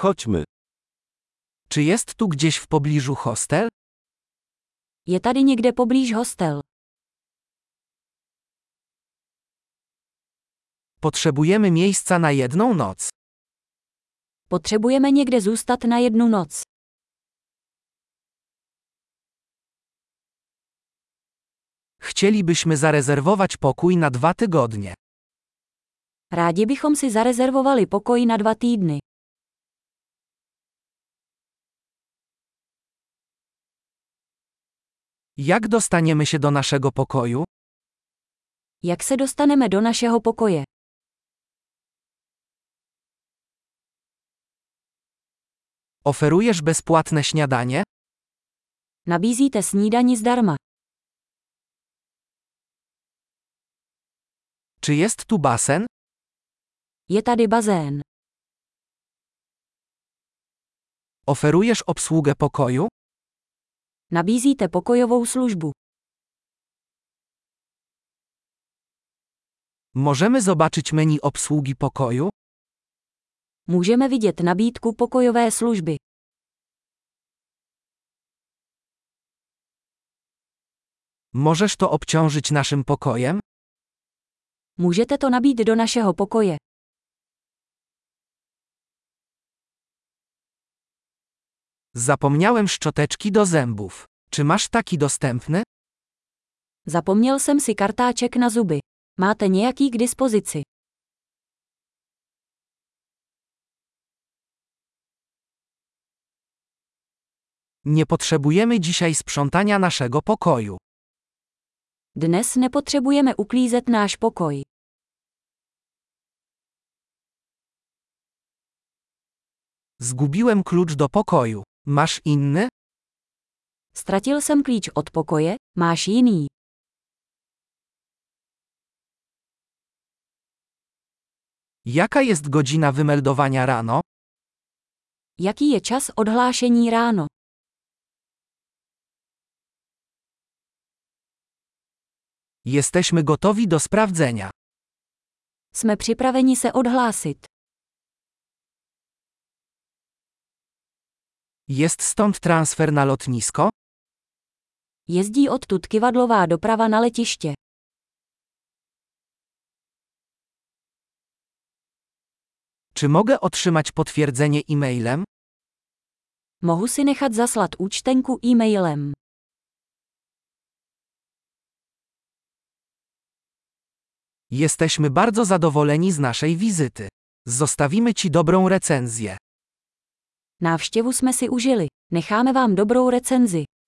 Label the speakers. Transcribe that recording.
Speaker 1: Chodźmy. Czy jest tu gdzieś w pobliżu hostel?
Speaker 2: Je tady někde poblíž hostel.
Speaker 1: Potrzebujemy miejsca na jedną noc.
Speaker 2: Potřebujeme někde zůstat na jednu noc.
Speaker 1: Chcielibyśmy zarezerwować pokój na dwa tygodnie.
Speaker 2: Rádi bychom si zarezervovali pokoj na dva týdny.
Speaker 1: Jak dostaniemy się do naszego pokoju?
Speaker 2: Jak se dostaneme do našeho pokoje?
Speaker 1: Oferujesz bezpłatne śniadanie?
Speaker 2: Nabízíte snídani zdarma.
Speaker 1: Czy jest tu basen?
Speaker 2: Je tady bazén.
Speaker 1: Oferujesz obsługę pokoju?
Speaker 2: Nabízíte pokojovou službu.
Speaker 1: Możemy zobaczyć menu obsługi pokoju?
Speaker 2: Můžeme vidět nabídku pokojové služby.
Speaker 1: Możesz to obciążyć naszym pokojem?
Speaker 2: Můžete to nabít do našeho pokoje.
Speaker 1: Zapomniałem szczoteczki do zębów. Czy masz taki dostępny?
Speaker 2: Zapomněl jsem si kartáček na zuby. Máte nějaký k dispozici?
Speaker 1: Nie potrzebujemy dzisiaj sprzątania naszego pokoju.
Speaker 2: Dnes nepotřebujeme uklízet náš pokoj.
Speaker 1: Zgubiłem klucz do pokoju. Masz inny?
Speaker 2: Ztratil jsem klíč od pokoje, máš jiný.
Speaker 1: Jaka jest godzina wymeldowania rano?
Speaker 2: Jaký je čas odhlášení ráno?
Speaker 1: Jesteśmy gotowi do sprawdzenia.
Speaker 2: Jsme připraveni se odhlásit.
Speaker 1: Jest stąd transfer na lotnisko?
Speaker 2: Jezdí odtud kivadlová doprava na letiště.
Speaker 1: Czy mogę otrzymać potwierdzenie e-mailem?
Speaker 2: Mohu si nechat zaslat účtenku e-mailem.
Speaker 1: Jesteśmy bardzo zadowoleni z naszej wizyty. Zostawimy Ci dobrą recenzję.
Speaker 2: Návštěvu jsme si užili. Necháme vám dobrou recenzi.